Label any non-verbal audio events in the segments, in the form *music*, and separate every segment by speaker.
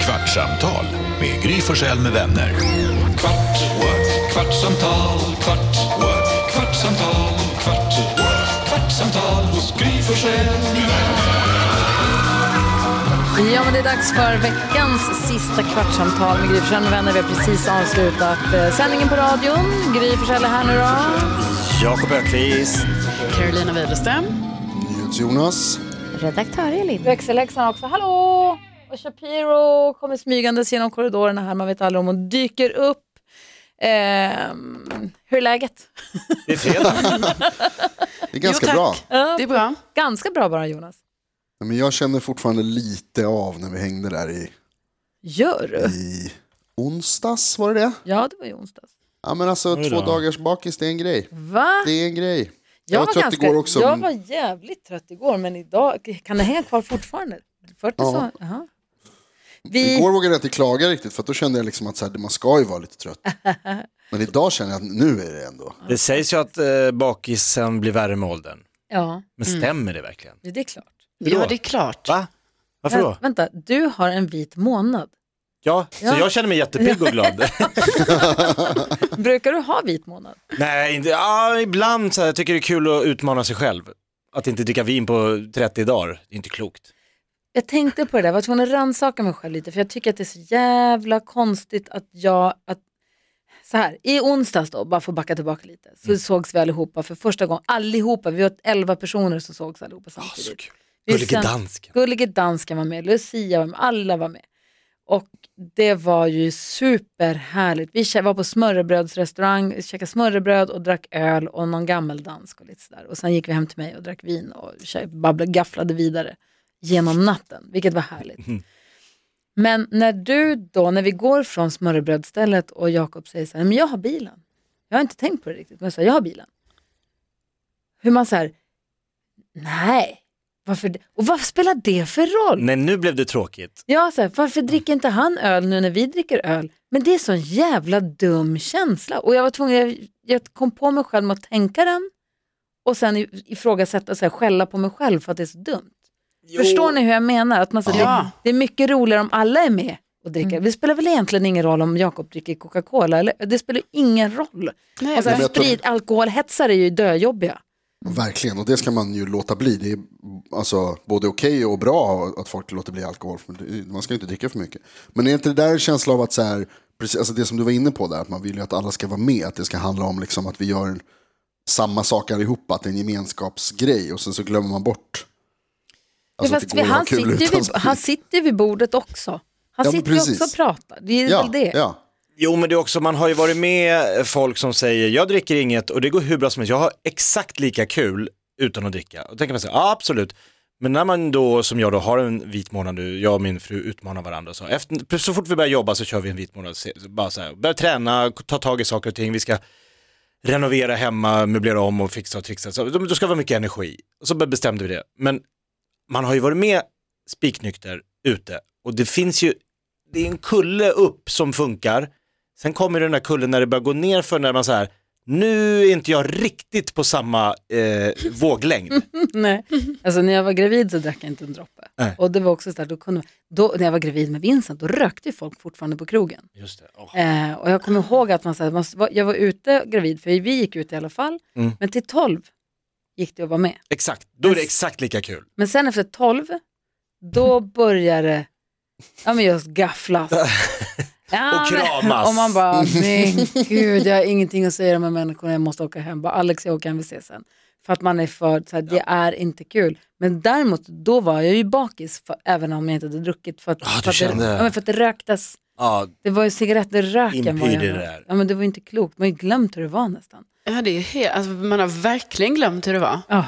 Speaker 1: Kvartsamtal med Gry Forssell med vänner. Kvart, what? kvartsamtal, kvart, what? kvartsamtal, kvart, what? kvartsamtal hos Gry Forssell med vänner.
Speaker 2: Ja, men det är dags för veckans sista kvartssamtal med Gry Forssell med vänner. Vi har precis avslutat eh, sändningen på radion. Gry Forssell är här nu då.
Speaker 3: Jakob Öqvist.
Speaker 4: Carolina Widerström.
Speaker 5: Jonas.
Speaker 6: Redaktör Elin.
Speaker 2: Växelläxan också. Hallå! Och Shapiro kommer smygandes genom korridorerna här. Man vet aldrig om hon dyker upp. Ehm, hur är läget?
Speaker 3: Det är fredag.
Speaker 5: Det är
Speaker 4: Jo,
Speaker 5: ganska
Speaker 4: tack.
Speaker 5: bra.
Speaker 4: Det är bra.
Speaker 2: Ganska bra bara Jonas.
Speaker 5: Nej, Men jag känner fortfarande lite av när vi hängde där i,
Speaker 2: Gör du?
Speaker 5: i onsdags, var det det?
Speaker 2: Ja, det var ju onsdags.
Speaker 5: Ja men alltså två dagars bakis, det är en grej.
Speaker 2: Va?
Speaker 4: Ah.
Speaker 5: Det är en grej. Jag, var, trött
Speaker 2: ganska-
Speaker 5: igår också. Mm.
Speaker 2: Jag
Speaker 5: men
Speaker 2: var jävligt trött igår, men idag, kan det hänga kvar fortfarande? 40 så?
Speaker 5: Ja.
Speaker 2: Jaha. Vi,
Speaker 5: Igår vågade jag inte klaga riktigt för att då kände jag liksom att så här, man ska ju vara
Speaker 4: *laughs*
Speaker 5: lite trött. Men idag känner jag att nu är det ändå.
Speaker 3: Det sägs ju att eh, bakisen blir värre med åldern.
Speaker 2: ja,
Speaker 3: Men stämmer det verkligen?
Speaker 2: det är klart.
Speaker 3: då?
Speaker 4: Ja, det är klart.
Speaker 3: Va? Varför då?
Speaker 2: Vä- Vänta, du har en vit månad.
Speaker 3: Ja, så jag känner mig jättepigg och *laughs* glad.
Speaker 2: Brukar du ha vit månad?
Speaker 3: Nej, inte, ja, ibland så här, jag tycker det är kul att utmana sig själv. Att inte dricka vin på 30 dagar, det är inte klokt.
Speaker 2: Jag tänkte på det där, jag var tvungen att rannsaka mig själv lite för jag tycker att det är så jävla konstigt att jag, att, så här, i onsdags då, bara för att backa tillbaka lite, så sågs vi allihopa för första gången, allihopa, vi var elva personer som sågs allihopa samtidigt.
Speaker 3: så kul.
Speaker 2: Vi
Speaker 3: Gullige
Speaker 2: sen-
Speaker 3: dansken.
Speaker 2: Gullige Dansken var med, Lucia var med, alla var med. Och det var ju superhärligt. Vi kä- var på smörrebrödsrestaurang, käkade smörrebröd och drack öl och någon gammal dansk och lite sådär. Och sen gick vi hem till mig och drack vin och kä- babblade, gafflade vidare genom natten, vilket var härligt. Men när du då, när vi går från smörrebrödstället och Jakob säger så här, men jag har bilen. Jag har inte tänkt på det riktigt, men jag, jag har bilen. Hur man så här, nej, varför det? Och vad spelar det för roll?
Speaker 3: Nej, nu blev det tråkigt.
Speaker 2: Ja, så här, varför dricker inte han öl nu när vi dricker öl? Men det är sån jävla dum känsla. Och jag var tvungen, jag, jag kom på mig själv med att tänka den och sen i- ifrågasätta, så här, skälla på mig själv för att det är så dumt. Förstår ni hur jag menar? Att man, så, här,
Speaker 4: Ja.
Speaker 2: det, det är mycket roligare om alla är med och dricker. Det spelar väl egentligen ingen roll om Jakob dricker Coca-Cola, eller? Det spelar ju ingen roll.
Speaker 4: Nej,
Speaker 2: Alltså,
Speaker 5: men jag tror-
Speaker 2: sprit, alkoholhetsare är ju döjobbiga.
Speaker 5: Verkligen, och det ska man ju låta bli. Det är alltså, både okej och bra att folk låter bli alkohol. för det- Man ska ju inte dricka för mycket. Men är inte det där en känsla av att så här, precis, alltså det som du var inne på där, att man vill ju att alla ska vara med, att det ska handla om liksom att vi gör en, samma sak allihopa, att det är en gemenskapsgrej och sen så glömmer man bort.
Speaker 2: Ja,
Speaker 5: att
Speaker 2: fast
Speaker 5: Alltså, det går att ha
Speaker 2: han,
Speaker 5: kul
Speaker 2: sitter ju
Speaker 5: utan
Speaker 2: vid,
Speaker 5: sprit.
Speaker 2: han sitter ju vid bordet också. Han
Speaker 5: Ja, men
Speaker 2: sitter ju
Speaker 5: precis.
Speaker 2: också och pratar. Det är
Speaker 5: ja,
Speaker 2: väl det.
Speaker 5: Ja.
Speaker 3: Jo men det är också, man har ju varit med folk som säger jag dricker inget och det går hur bra som helst, jag har exakt lika kul utan att dricka. Och då tänker man så här, ja absolut. Men när man då, som jag då, har en vit månad, nu, jag och min fru utmanar varandra och så. Efter, så fort vi börjar jobba så kör vi en vit månad, se- bara så här, börjar träna, ta tag i saker och ting, vi ska renovera hemma, möblera om och fixa och trixa. Så, då då ska det vara mycket energi. Och så bestämde vi det. Men man har ju varit med spiknykter ute och det finns ju, det är en kulle upp som funkar. Sen kommer den där kullen när det börjar gå ner för när man så här, nu är inte jag riktigt på samma eh, våglängd.
Speaker 2: *laughs* Mm. Nej. Alltså när jag var gravid så drack jag inte en droppe.
Speaker 3: Nej.
Speaker 2: Och det var också så här, då kunde, då, när jag var gravid med Vincent, då rökte ju folk fortfarande på krogen.
Speaker 3: Just det. åh.
Speaker 2: Eh, och jag kommer ihåg att man, så här, man var- jag var ute gravid, för vi gick ut i alla fall,
Speaker 3: Mm.
Speaker 2: men till 12 gick det att vara med.
Speaker 3: Exakt, då är det exakt lika kul.
Speaker 2: Men sen efter 12, då började det, ja men just
Speaker 3: *laughs*
Speaker 2: gafflas. Ja,
Speaker 3: Och
Speaker 2: men-
Speaker 3: kramas.
Speaker 2: Och man bara,
Speaker 3: *laughs*
Speaker 2: men gud jag har ingenting att säga de här människorna, jag måste åka hem. Bara, Alex jag åker hem, vi ses sen. För att man är för, så här, det är inte kul. Men däremot, då var jag ju bakis, för, även om jag inte hade druckit. För att,
Speaker 3: Ja, Ah, du
Speaker 2: för att,
Speaker 3: kände-
Speaker 2: det, ja, men för att det röktes,
Speaker 3: Ja,
Speaker 2: det var ju cigaretter, röken var
Speaker 3: Impyrde
Speaker 2: ju,
Speaker 3: det där.
Speaker 2: Ja men det var ju inte klokt, man har ju glömt hur det var nästan.
Speaker 4: Ja, det är helt, alltså, man har verkligen glömt hur det var.
Speaker 2: Ja.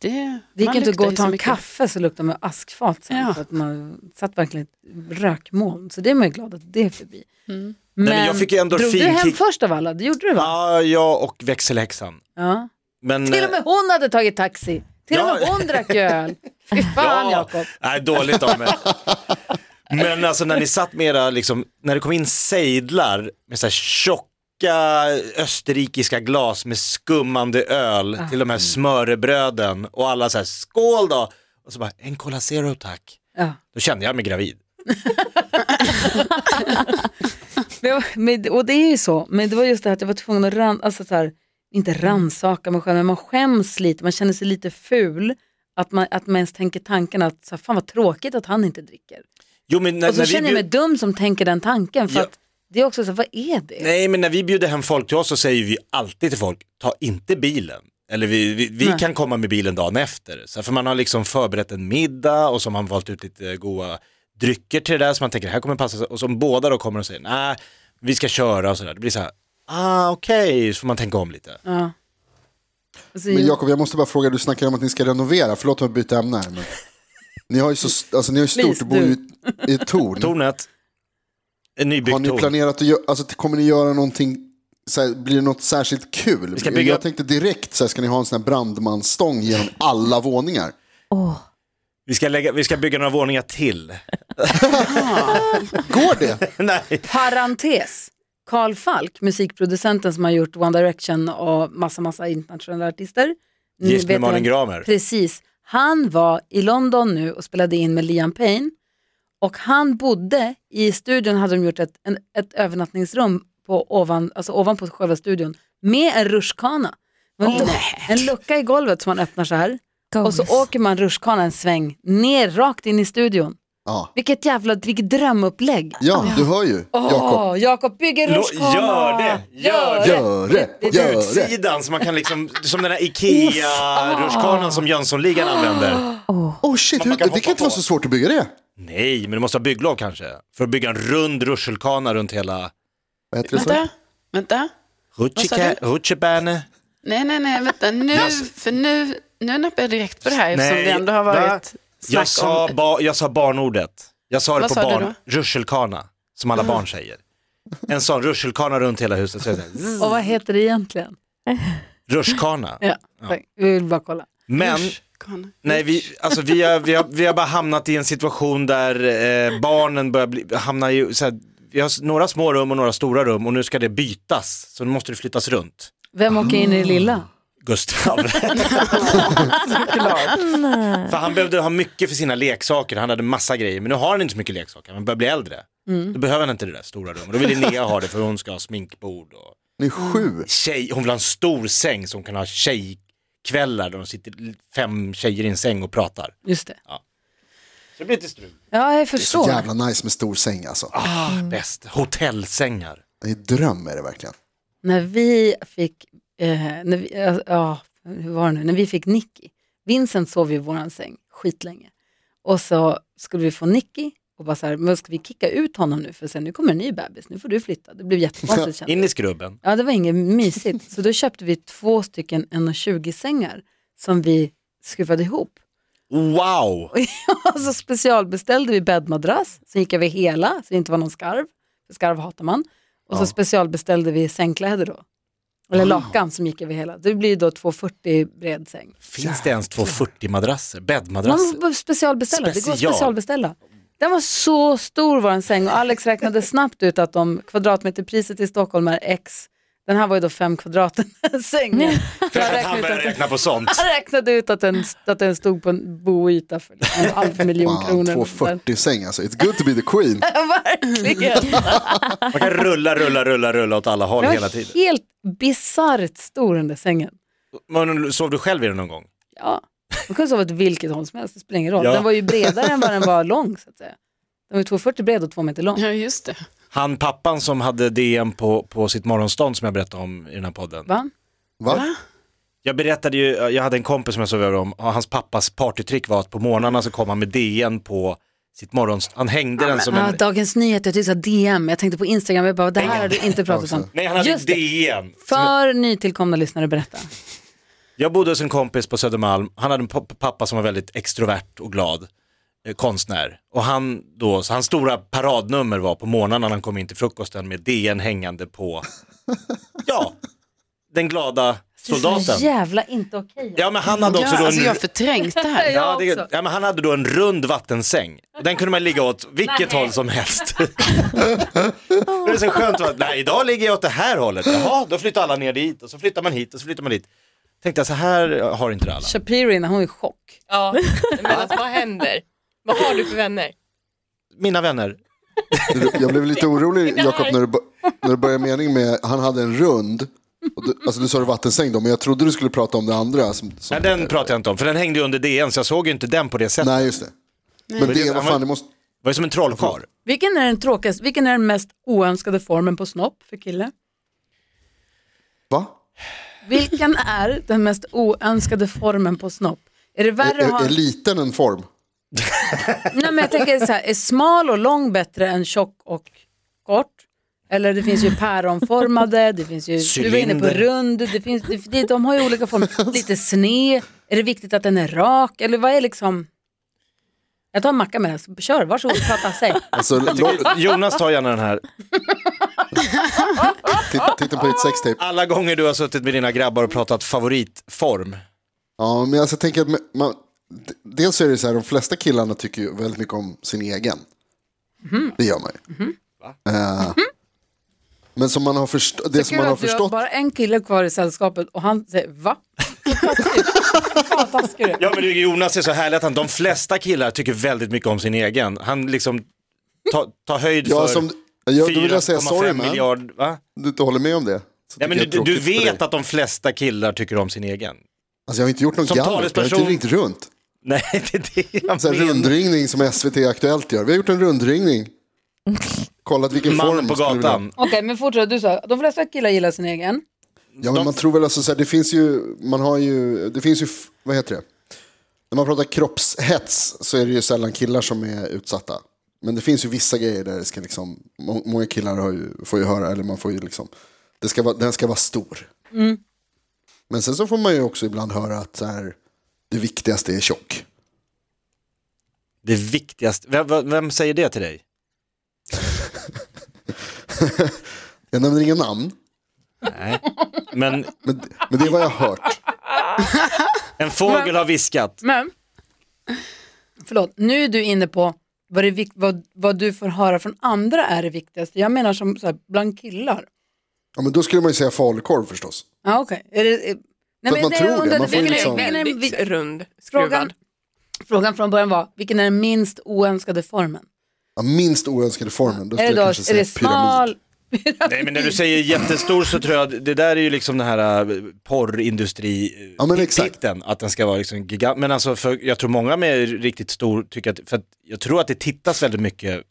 Speaker 4: Det,
Speaker 2: Det gick
Speaker 4: man
Speaker 2: inte att gå och
Speaker 4: luktar ju
Speaker 2: ta
Speaker 4: så
Speaker 2: en
Speaker 4: mycket.
Speaker 2: kaffe så luktade man askfat sen.
Speaker 4: Ja.
Speaker 2: För att man satt verkligen i ett rökmoln. Så det är man ju glad att det är förbi.
Speaker 4: Mm.
Speaker 2: Men,
Speaker 3: men jag fick ju ändå
Speaker 2: drog du
Speaker 3: fin
Speaker 2: hem
Speaker 3: kick-
Speaker 2: först av alla? Det gjorde du va?
Speaker 3: ja jag och växelhäxan.
Speaker 2: Ja.
Speaker 3: Men, eh,
Speaker 2: Till och med hon hade tagit taxi. Till och med
Speaker 3: Ja.
Speaker 2: hon drack ju
Speaker 3: *laughs*
Speaker 2: öl. Fy fan
Speaker 3: Ja.
Speaker 2: Jakob.
Speaker 3: Nej, dåligt av mig. Men alltså när ni satt med era, liksom, när det kom in sejdlar med så här tjocka österrikiska glas med skummande öl
Speaker 2: Ah.
Speaker 3: till de här smörrebröden och alla så här skål då. Och så bara en Cola Zero tack.
Speaker 2: Ja.
Speaker 3: Då kände jag mig gravid.
Speaker 2: Men jag- Men, och det är ju så, men det var just det här att jag var tvungen att ran, alltså så här, inte ransaka mig själv, men man skäms lite, man känner sig lite ful. Att man, att man ens tänker tanken att, så här, fan vad tråkigt att han inte dricker.
Speaker 3: Jo, men när,
Speaker 2: Och så
Speaker 3: när vi
Speaker 2: känner jag mig
Speaker 3: bjud-
Speaker 2: dum som tänker den tanken, för
Speaker 3: Ja.
Speaker 2: att det är också så här, vad är det?
Speaker 3: Nej, men när vi bjuder hem folk till oss så säger vi alltid till folk, ta inte bilen. Eller vi, vi, vi kan komma med bilen dagen efter. Så här, för man har liksom förberett en middag och så har man valt ut lite goda drycker till det där som man tänker, det här kommer passa. sig." Och som båda då kommer och säger, nej, vi ska köra och sådär. Det blir så här, ah okej, så får man tänka om lite.
Speaker 2: Ja. Alltså,
Speaker 5: Men Jakob, jag måste bara fråga, du snackar om att ni ska renovera, förlåt om jag byter ämne här. Men... Ni har ju så, alltså ni har ju stort,
Speaker 2: Please,
Speaker 5: du bor ju i ett torn.
Speaker 3: Tornet, en
Speaker 5: Har
Speaker 3: nybyggt
Speaker 5: ni
Speaker 3: torn.
Speaker 5: planerat att göra, alltså kommer ni göra någonting, så här, blir det något särskilt kul?
Speaker 3: ska bygga
Speaker 5: Jag
Speaker 3: upp-
Speaker 5: tänkte direkt, så här, ska ni ha en sån här brandmansstång genom alla våningar?
Speaker 3: Vi ska, lägga, vi ska bygga några våningar
Speaker 5: *laughs*
Speaker 3: till.
Speaker 5: Går det?
Speaker 3: nej,
Speaker 2: Parentes. Carl Falk, musikproducenten som har gjort One Direction och massa, massa internationella artister. Ni
Speaker 3: gift med
Speaker 2: vet
Speaker 3: Malin
Speaker 2: vem-
Speaker 3: Gramer.
Speaker 2: Precis. Han var i London nu och spelade in med Liam Payne. Och han bodde, i studion hade de gjort ett, en, ett övernattningsrum på ovan, alltså ovanpå själva studion med en rutschkana. Det var En, lu- en lucka i golvet som man öppnar så här. Och så åker man rutschkana en sväng ner rakt in i studion.
Speaker 5: Ja,
Speaker 2: Vilket jävla vilket drömupplägg.
Speaker 5: ja du hör ju, Jakob.
Speaker 2: Åh, Jakob bygger
Speaker 3: Lo-
Speaker 2: rutschkana.
Speaker 3: gör det, gör det.
Speaker 5: Gör det, gör det.
Speaker 3: Utsidan som man kan liksom, som den här IKEA-rutschkanan som Jönssonligan använder.
Speaker 5: Oh shit,
Speaker 3: Man
Speaker 5: hur,
Speaker 3: kan
Speaker 5: det
Speaker 3: hoppa
Speaker 5: kan inte vara
Speaker 3: på.
Speaker 5: så svårt att bygga det.
Speaker 3: Nej, men du måste ha bygglov kanske. För att bygga en rund rutschkana runt hela
Speaker 5: Vad heter det? sa du?
Speaker 4: Vänta, vänta. sa
Speaker 3: Rutschika- rutschbane.
Speaker 4: Nej, nej, nej, vänta. Nu, för nu, nu nappar jag direkt på det här eftersom det ändå har varit
Speaker 3: va?
Speaker 4: snack
Speaker 3: jag sa,
Speaker 4: om...
Speaker 3: ba, jag sa barnordet. Jag sa det
Speaker 4: Vad
Speaker 3: på
Speaker 4: sa du
Speaker 3: barn. Rutschkana, som alla barn säger. En sån rutschkana runt hela huset. Så jag säger, *laughs* zzz,
Speaker 2: Och vad heter det egentligen?
Speaker 3: Rutschkana.
Speaker 2: Ja. Vi vill bara kolla.
Speaker 3: Men
Speaker 4: Rutschkana.
Speaker 3: Nej, vi, alltså, vi, har, vi, har, vi har bara hamnat i en situation där eh, barnen börjar bli, hamna i, så här, vi har s- några små rum och några stora rum och nu ska det bytas, så nu måste det flyttas runt.
Speaker 2: Vem åker in i det lilla?
Speaker 5: Ah.
Speaker 3: *laughs* Gustav. för han behövde ha mycket för sina leksaker, han hade massa grejer, men nu har han inte så mycket leksaker, han börjar bli äldre. Då behöver han inte det där stora rummet, då vill Linnea ha det för hon ska ha sminkbord och
Speaker 5: Ni är sju.
Speaker 3: tjej, hon vill ha en stor säng som kan ha tjejkvällar där de sitter fem tjejer i en säng och pratar.
Speaker 2: Just det.
Speaker 3: Så det blir lite strul.
Speaker 2: Ja, jag
Speaker 5: Så
Speaker 2: förstår.
Speaker 5: jävla nice med stor säng alltså.
Speaker 3: Ah, bäst. Hotellsängar.
Speaker 5: Det är dröm är det verkligen.
Speaker 2: När vi fick, eh, när vi, ja, ja, hur var det nu, när vi fick Nicky. Vincent sov ju i våran säng skitlänge. Och så skulle vi få Nicky och bara så här, men ska vi kicka ut honom nu för sen nu kommer en ny bebis, nu får du flytta. Det blev jättekonstigt
Speaker 5: *laughs*
Speaker 2: kändes
Speaker 3: In i skrubben.
Speaker 2: Ja, det var inget mysigt. Så då köpte vi två stycken 1,20-sängar som vi skruvade ihop. *laughs*
Speaker 3: Wow!
Speaker 2: Och så specialbeställde vi bäddmadrass som gick över hela, så det inte var någon skarv. För skarv hatar man. Och så specialbeställde vi sängkläder då. Eller lakan som gick över hela. Det blir då 2,40 bred säng.
Speaker 3: Finns det ens 240 madrasser?
Speaker 2: Man
Speaker 3: Bäddmadrasser?
Speaker 2: får specialbeställa, det går att
Speaker 3: Special.
Speaker 2: specialbeställa. Den var så stor vår säng och Alex räknade snabbt ut att om kvadratmeterpriset i Stockholm är x, den här var ju då fem kvadrat, sängen. Så jag
Speaker 3: Klart att han
Speaker 2: räknade ut
Speaker 3: börjar
Speaker 2: att-
Speaker 3: räkna på sånt.
Speaker 2: Han räknade ut att den, att den stod på en boyta för liksom en halv miljon
Speaker 5: Fan,
Speaker 2: kronor.
Speaker 5: 240 säng alltså. It's good to be the
Speaker 2: *laughs*
Speaker 5: queen.
Speaker 2: Verkligen.
Speaker 3: Man kan rulla, rulla, rulla, rulla åt alla håll
Speaker 2: Den
Speaker 3: hela
Speaker 2: var
Speaker 3: tiden.
Speaker 2: helt bisarrt stor den där sängen.
Speaker 3: Men, sov du själv i den någon gång?
Speaker 2: Ja, man kunde sova åt vilket håll som helst, det spelar ingen roll.
Speaker 3: Ja.
Speaker 2: Den var ju bredare än vad den var lång så att säga. Den var ju 240 bred och två meter lång.
Speaker 4: Ja, just det.
Speaker 3: Han pappan som hade DM på, på sitt morgonstånd som jag berättade om i den här podden.
Speaker 2: Va?
Speaker 5: Va?
Speaker 3: Jag berättade ju, jag hade en kompis som jag sov över om, och hans pappas partytrick var att på morgnarna så kom han med DN på sitt morgonstånd. Han hängde den som
Speaker 2: Ah,
Speaker 3: en...
Speaker 2: Dagens Nyheter, jag tyckte du sa DM, jag tänkte på Instagram, jag bara, det här har du inte pratat om.
Speaker 3: Nej, han hade
Speaker 2: Just det.
Speaker 3: DN.
Speaker 2: För nytillkomna lyssnare, berätta.
Speaker 3: Jag bodde hos en kompis på Södermalm, han hade en pa- pappa som var väldigt extrovert och glad eh, konstnär. Och han då, så hans stora paradnummer var på morgonen när han kom in till frukosten med DN hängande på, ja, den glada
Speaker 2: Så
Speaker 3: soldaten.
Speaker 2: jävla inte okej.
Speaker 3: Ja men han hade också då
Speaker 4: Ja,
Speaker 3: en,
Speaker 4: alltså jag har förträngt
Speaker 3: *laughs*
Speaker 4: det här.
Speaker 3: ja, det,
Speaker 2: också.
Speaker 3: ja, men han hade då en rund vattensäng. Och Den kunde man ligga åt vilket håll som helst. *laughs* det är så skönt att, nej idag ligger jag åt det här hållet. Jaha, då flyttar alla ner dit och så flyttar man hit och så flyttar man dit. Tänkte jag så här har inte det alla.
Speaker 2: Shapiro, hon är i chock.
Speaker 6: Ja, men alltså, vad händer? Vad har du för vänner?
Speaker 3: mina vänner.
Speaker 5: Jag blev lite orolig Jakob när, du bo- när du började meningen med han hade en rund. Och du, alltså du sa det vattensäng då, men jag trodde du skulle prata om det andra. Som, som,
Speaker 3: Nej, den pratar jag inte om, för den hängde ju under DN, så jag såg ju inte den på det sättet.
Speaker 5: Nej, just det. Men det, vad fan, det måste...
Speaker 3: Det var ju som en trollkarl.
Speaker 2: Vilken är den tråkigaste, vilken är den mest oönskade formen på snopp för kille?
Speaker 5: Va?
Speaker 2: Vilken är den mest oönskade formen på snopp? Är det
Speaker 5: Är,
Speaker 2: värre att
Speaker 5: är,
Speaker 2: ha...
Speaker 5: är liten en form?
Speaker 2: Nej, men jag tänker så här, är smal och lång bättre än tjock och kort? Eller det finns ju päronformade, det finns ju, du var inne på
Speaker 3: Cylinder.
Speaker 2: rund, det finns, det, det- de har ju olika former. Lite sned, är det viktigt att den är rak? Eller vad är liksom... Jag tar en macka med den, så kör, varsågod, prata, säg.
Speaker 5: Alltså, lång,
Speaker 3: Jonas tar gärna den här.
Speaker 5: titt- titta på ditt sextape.
Speaker 3: Alla gånger du har suttit med dina grabbar och pratat favoritform.
Speaker 5: Ja, men alltså, jag tänker att man, d- dels så är det så här, de flesta killarna tycker ju väldigt mycket om sin egen.
Speaker 2: Mhm.
Speaker 5: Det gör man ju. Eh, Men som man har, först- det som
Speaker 2: Kul
Speaker 5: man har
Speaker 2: att du
Speaker 5: förstått,
Speaker 2: bara en kille kvar i sällskapet och han säger va? *laughs* Fan taskig du är.
Speaker 3: Ja men det- Jonas är så härlig att han, de flesta killar tycker väldigt mycket om sin egen. Han liksom tar ta höjd
Speaker 5: Ja,
Speaker 3: för
Speaker 5: som- ja, då vill jag säga sorry,
Speaker 3: 4,5
Speaker 5: man.
Speaker 3: miljard. Va?
Speaker 5: du inte håller med om det. så
Speaker 3: Ja,
Speaker 5: tycker
Speaker 3: men du,
Speaker 5: jag det är
Speaker 3: du
Speaker 5: tråkigt för
Speaker 3: vet
Speaker 5: dig.
Speaker 3: att de flesta killar tycker om sin egen. *laughs*
Speaker 5: Alltså jag har inte gjort någon
Speaker 3: Som
Speaker 5: gallup, jag har
Speaker 3: talesperson-
Speaker 5: inte ringt runt.
Speaker 3: Nej, det är det jag
Speaker 5: Så här
Speaker 3: menar.
Speaker 5: rundringning som SVT Aktuellt gör. Vi har gjort en rundringning. Kollat vilken form.
Speaker 3: Mannen på
Speaker 5: skulle du vilja-
Speaker 3: gatan.
Speaker 2: Okej, men fortsätt, du sa, de flesta killar gillar sin egen.
Speaker 5: Ja, men man tror väl alltså så här, det finns ju, man har ju, det finns ju, f- vad heter det? När man pratar kroppshets så är det ju sällan killar som är utsatta. Men det finns ju vissa grejer där det ska liksom, må- många killar har ju, får ju höra, eller man får ju liksom, det ska vara, den ska vara stor.
Speaker 2: Mm.
Speaker 5: Men sen så får man ju också ibland höra att så här, det viktigaste är tjock.
Speaker 3: Det viktigaste, vem, vem- vem säger det till dig?
Speaker 5: Jag nämner inga namn,
Speaker 3: Nej. Men
Speaker 5: men, men det är vad jag har hört.
Speaker 3: en fågel har viskat.
Speaker 2: Men, förlåt, nu är du inne på vad, det, vik- vad, vad du får höra från andra är det viktigaste. Jag menar som så här, bland killar.
Speaker 5: Ja, men då skulle man ju säga falukorv förstås.
Speaker 2: Ja, okej. Är det, är- nej,
Speaker 5: man tror det,
Speaker 2: jag undrade,
Speaker 5: man får ju
Speaker 2: vilken är-
Speaker 5: liksom-
Speaker 2: vilken är-
Speaker 6: Väldigt
Speaker 2: vilken-
Speaker 6: rund, skruvad.
Speaker 2: frågan, frågan från början var, vilken är den minst oönskade formen?
Speaker 5: Ja, minst oönskade formen, då
Speaker 2: Är
Speaker 5: skulle
Speaker 2: det, då,
Speaker 5: jag kanske
Speaker 2: är
Speaker 5: säga
Speaker 2: det
Speaker 5: pyramid.
Speaker 2: smal?
Speaker 3: Nej men när du säger jättestor så tror jag, det där är ju liksom den här äh, porrindustri
Speaker 5: Ja, men exakt.
Speaker 3: titeln, att den ska vara liksom gigant. Men alltså för, jag tror många med riktigt stor tycker att, för att jag tror att det tittas väldigt mycket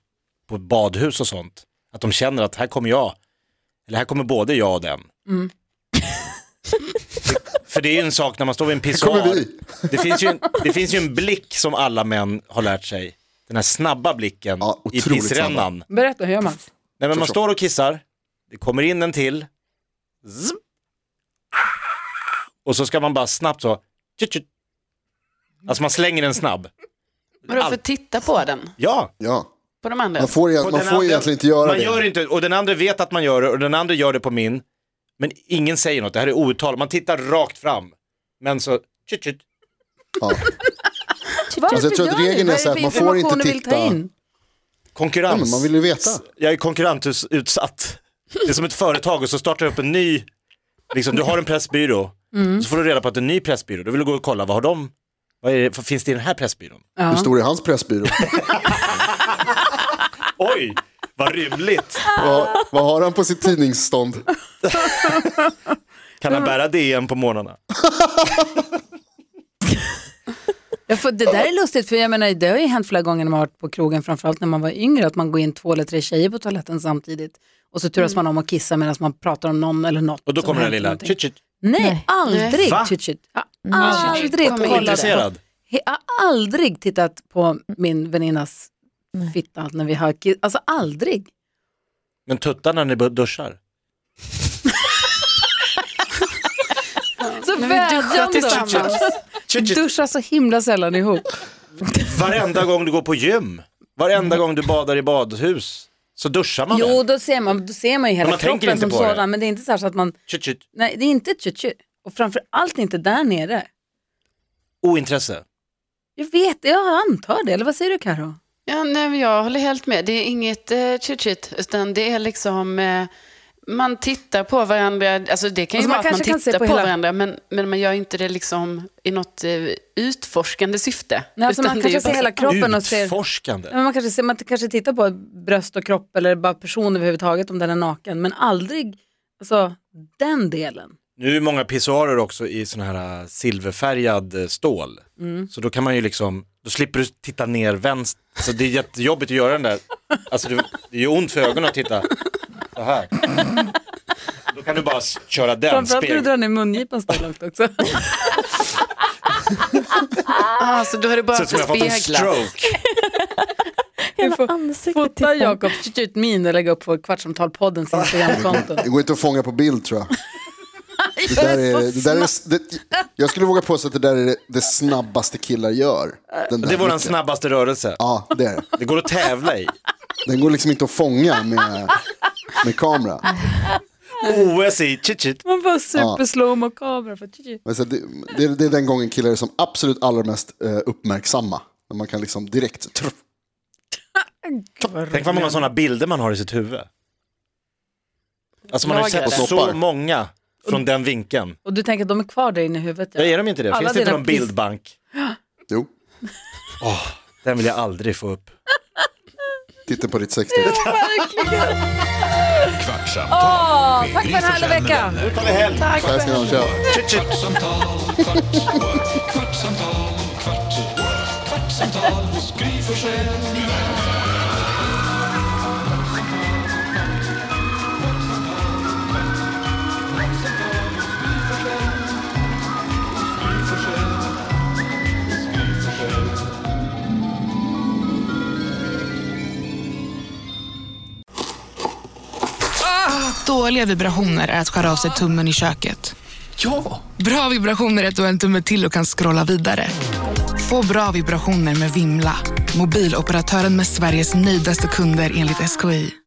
Speaker 3: på badhus och sånt. Att de känner att här kommer jag, eller här kommer både jag och den. *laughs* för det är ju en sak när man står vid en
Speaker 5: kommer
Speaker 3: pissoar,
Speaker 5: vi.
Speaker 3: det, finns ju en- det finns ju en blick som alla män har lärt sig. Den här snabba blicken
Speaker 5: Ja,
Speaker 3: i
Speaker 5: otroligt snabba.
Speaker 3: pissrännan.
Speaker 2: Berätta, hur gör man?
Speaker 3: Nej men man
Speaker 5: så.
Speaker 3: står och kissar, det kommer in en till, Zzz. och så ska man bara snabbt så, tjut, tjut. alltså man slänger den snabb.
Speaker 4: Vadå för
Speaker 3: Allt.
Speaker 4: att titta på den?
Speaker 3: Ja,
Speaker 5: Ja.
Speaker 4: På de andra?
Speaker 5: Man får,
Speaker 3: Och
Speaker 5: egent- man
Speaker 3: den
Speaker 5: får
Speaker 3: andra-
Speaker 5: egentligen inte göra
Speaker 3: man
Speaker 5: det.
Speaker 3: gör inte, och den andra vet att man gör det och den andra gör det på min, men ingen säger något, det här är outtalat, man tittar rakt fram, men så, tjut, tjut.
Speaker 5: Ja.
Speaker 2: Varför
Speaker 5: Alltså, jag tror att
Speaker 2: gör ni?
Speaker 5: regeln är
Speaker 2: Vad
Speaker 5: så här,
Speaker 2: för
Speaker 5: man får inte
Speaker 2: information ni vill ta
Speaker 5: titta.
Speaker 2: in?
Speaker 3: konkurrens.
Speaker 5: Ja, men man vill ju veta.
Speaker 3: Jag är konkurrensutsatt. Det är som ett företag och så startar du upp en ny, liksom, du har en pressbyrå,
Speaker 2: Mm.
Speaker 3: så får du reda på att en ny pressbyrå, då vill du gå och kolla, vad har de, vad är det, vad finns det i den här pressbyrån?
Speaker 5: Hur stor är hans pressbyrå?
Speaker 3: Oj, vad rymligt.
Speaker 5: vad, vad har han på sitt tidningsstånd?
Speaker 3: Kan han bära DN på morgnarna?
Speaker 2: Ja, för det där är lustigt, för jag menar, det har ju hänt flera gånger när man har varit på krogen, framförallt när man var yngre, att man går in två eller tre tjejer på toaletten samtidigt och så turas man om att kissa medan man pratar om någon eller något.
Speaker 3: Och då
Speaker 2: som
Speaker 3: kommer den
Speaker 2: hänt
Speaker 3: lilla,
Speaker 2: någonting.
Speaker 3: tjut tjut,
Speaker 2: Nej, aldrig.
Speaker 3: Va?
Speaker 2: Tjut, tjut. Jag har aldrig
Speaker 4: Kommer inte.
Speaker 2: kollat. på-
Speaker 3: intresserad.
Speaker 2: Jag har aldrig tittat på min väninnas fitta när vi har kiss. Alltså aldrig.
Speaker 3: Men tuttarna när ni duschar?
Speaker 2: Så
Speaker 4: Men vi duschar
Speaker 2: vädjan då.
Speaker 4: tillsammans.
Speaker 3: Tjut, tjut.
Speaker 2: Duschar så himla sällan ihop.
Speaker 3: Varenda gång du går på gym, varenda gång du badar i badhus, så duschar man
Speaker 2: Jo,
Speaker 3: väl?
Speaker 2: då ser man, då ser man ju hela
Speaker 3: Men man tänker
Speaker 2: kroppen som
Speaker 3: inte på det.
Speaker 2: sådan, men det är inte så, här så att man,
Speaker 3: Tjut, tjut.
Speaker 2: nej det är inte ett tjut, tjut. Och framför allt inte där nere.
Speaker 3: Ointresse.
Speaker 2: Jag vet, jag antar det. Eller vad säger du Karo?
Speaker 4: Ja, nej, men jag håller helt med. Det är inget eh, chit-chit, utan det är liksom eh, man tittar på varandra, alltså det kan ju
Speaker 2: Alltså,
Speaker 4: vara
Speaker 2: man
Speaker 4: att man
Speaker 2: kanske kan se
Speaker 4: tittar på,
Speaker 2: på hela-
Speaker 4: varandra, men, men man gör ju inte det liksom i något eh, utforskande syfte.
Speaker 2: Nej, alltså
Speaker 4: Utan
Speaker 2: man
Speaker 4: det är ju
Speaker 2: kanske ser
Speaker 4: bara-
Speaker 2: hela kroppen och ser...
Speaker 3: Utforskande.
Speaker 2: Ja, men Man kanske, ser, man kanske tittar på bröst och kropp eller bara person överhuvudtaget om den är naken, men aldrig alltså, den delen.
Speaker 3: Nu är det många pissoarer också i sån här eh, silverfärgad eh, stål.
Speaker 2: Mm.
Speaker 3: Så då kan man ju liksom, då slipper du titta ner vänster. Alltså det är jättejobbigt att göra den där. Alltså det, det gör ont för ögonen att titta så här. Då kan du bara s- köra den.
Speaker 2: Framförallt när du
Speaker 3: Spegel.
Speaker 2: drar ner mungipan så långt
Speaker 5: *laughs*
Speaker 2: också.
Speaker 4: Ah, så då har det bara
Speaker 3: Ser ut som jag har fått en
Speaker 4: speglar.
Speaker 3: stroke.
Speaker 2: Du får
Speaker 6: Ansiktet
Speaker 2: fota
Speaker 6: tittar-
Speaker 2: Jakob tjut min och lägga upp på Kvartsamtalpoddens Instagramkonto.
Speaker 5: Det går inte att fånga på bild tror jag. Det
Speaker 2: *laughs*
Speaker 5: där är, det där är, det, jag skulle våga påstå att det där är det, det snabbaste killar gör. Den där
Speaker 3: Det är våran
Speaker 5: blicken.
Speaker 3: snabbaste rörelse.
Speaker 5: Ja, det är det.
Speaker 3: Det går att tävla i.
Speaker 5: Den går liksom inte att fånga med, med kamera.
Speaker 3: OS i chit chit.
Speaker 2: Man får super slow mo kamera för tjut.
Speaker 5: Men så det, det, det är den gången killar är som absolut allra mest eh, uppmärksamma. När man kan liksom direkt... Tr-
Speaker 3: Tänk vad många sådana bilder man har i sitt huvud. Alltså man har ju
Speaker 4: Lager.
Speaker 3: sett så
Speaker 5: Snoppar.
Speaker 3: många från den vinkeln.
Speaker 2: Och du tänker att de är kvar där inne i huvudet?
Speaker 3: Ja,
Speaker 2: Ja.
Speaker 3: är de inte det?
Speaker 2: Alla
Speaker 3: Finns det inte
Speaker 2: dina
Speaker 3: någon
Speaker 2: piss-
Speaker 3: bildbank?
Speaker 5: jo,
Speaker 3: Den vill jag aldrig få upp.
Speaker 5: titta på ditt 60.
Speaker 1: Kvartsamtal med
Speaker 2: tack för
Speaker 1: Gry
Speaker 2: en härlig
Speaker 1: Forssell med
Speaker 2: vecka.
Speaker 1: vänner.
Speaker 5: Där ska de köra.
Speaker 1: Kvartsamtal, kvart, what? kvartsamtal, kvart, what? kvartsamtal hos Gry Forssell med vänner.
Speaker 7: Dåliga vibrationer är att skära av sig tummen i köket.
Speaker 8: Ja!
Speaker 7: Bra vibrationer är att du har en tumme till och kan scrolla vidare. Få bra vibrationer med Vimla. Mobiloperatören med Sveriges nöjdaste kunder enligt SKI.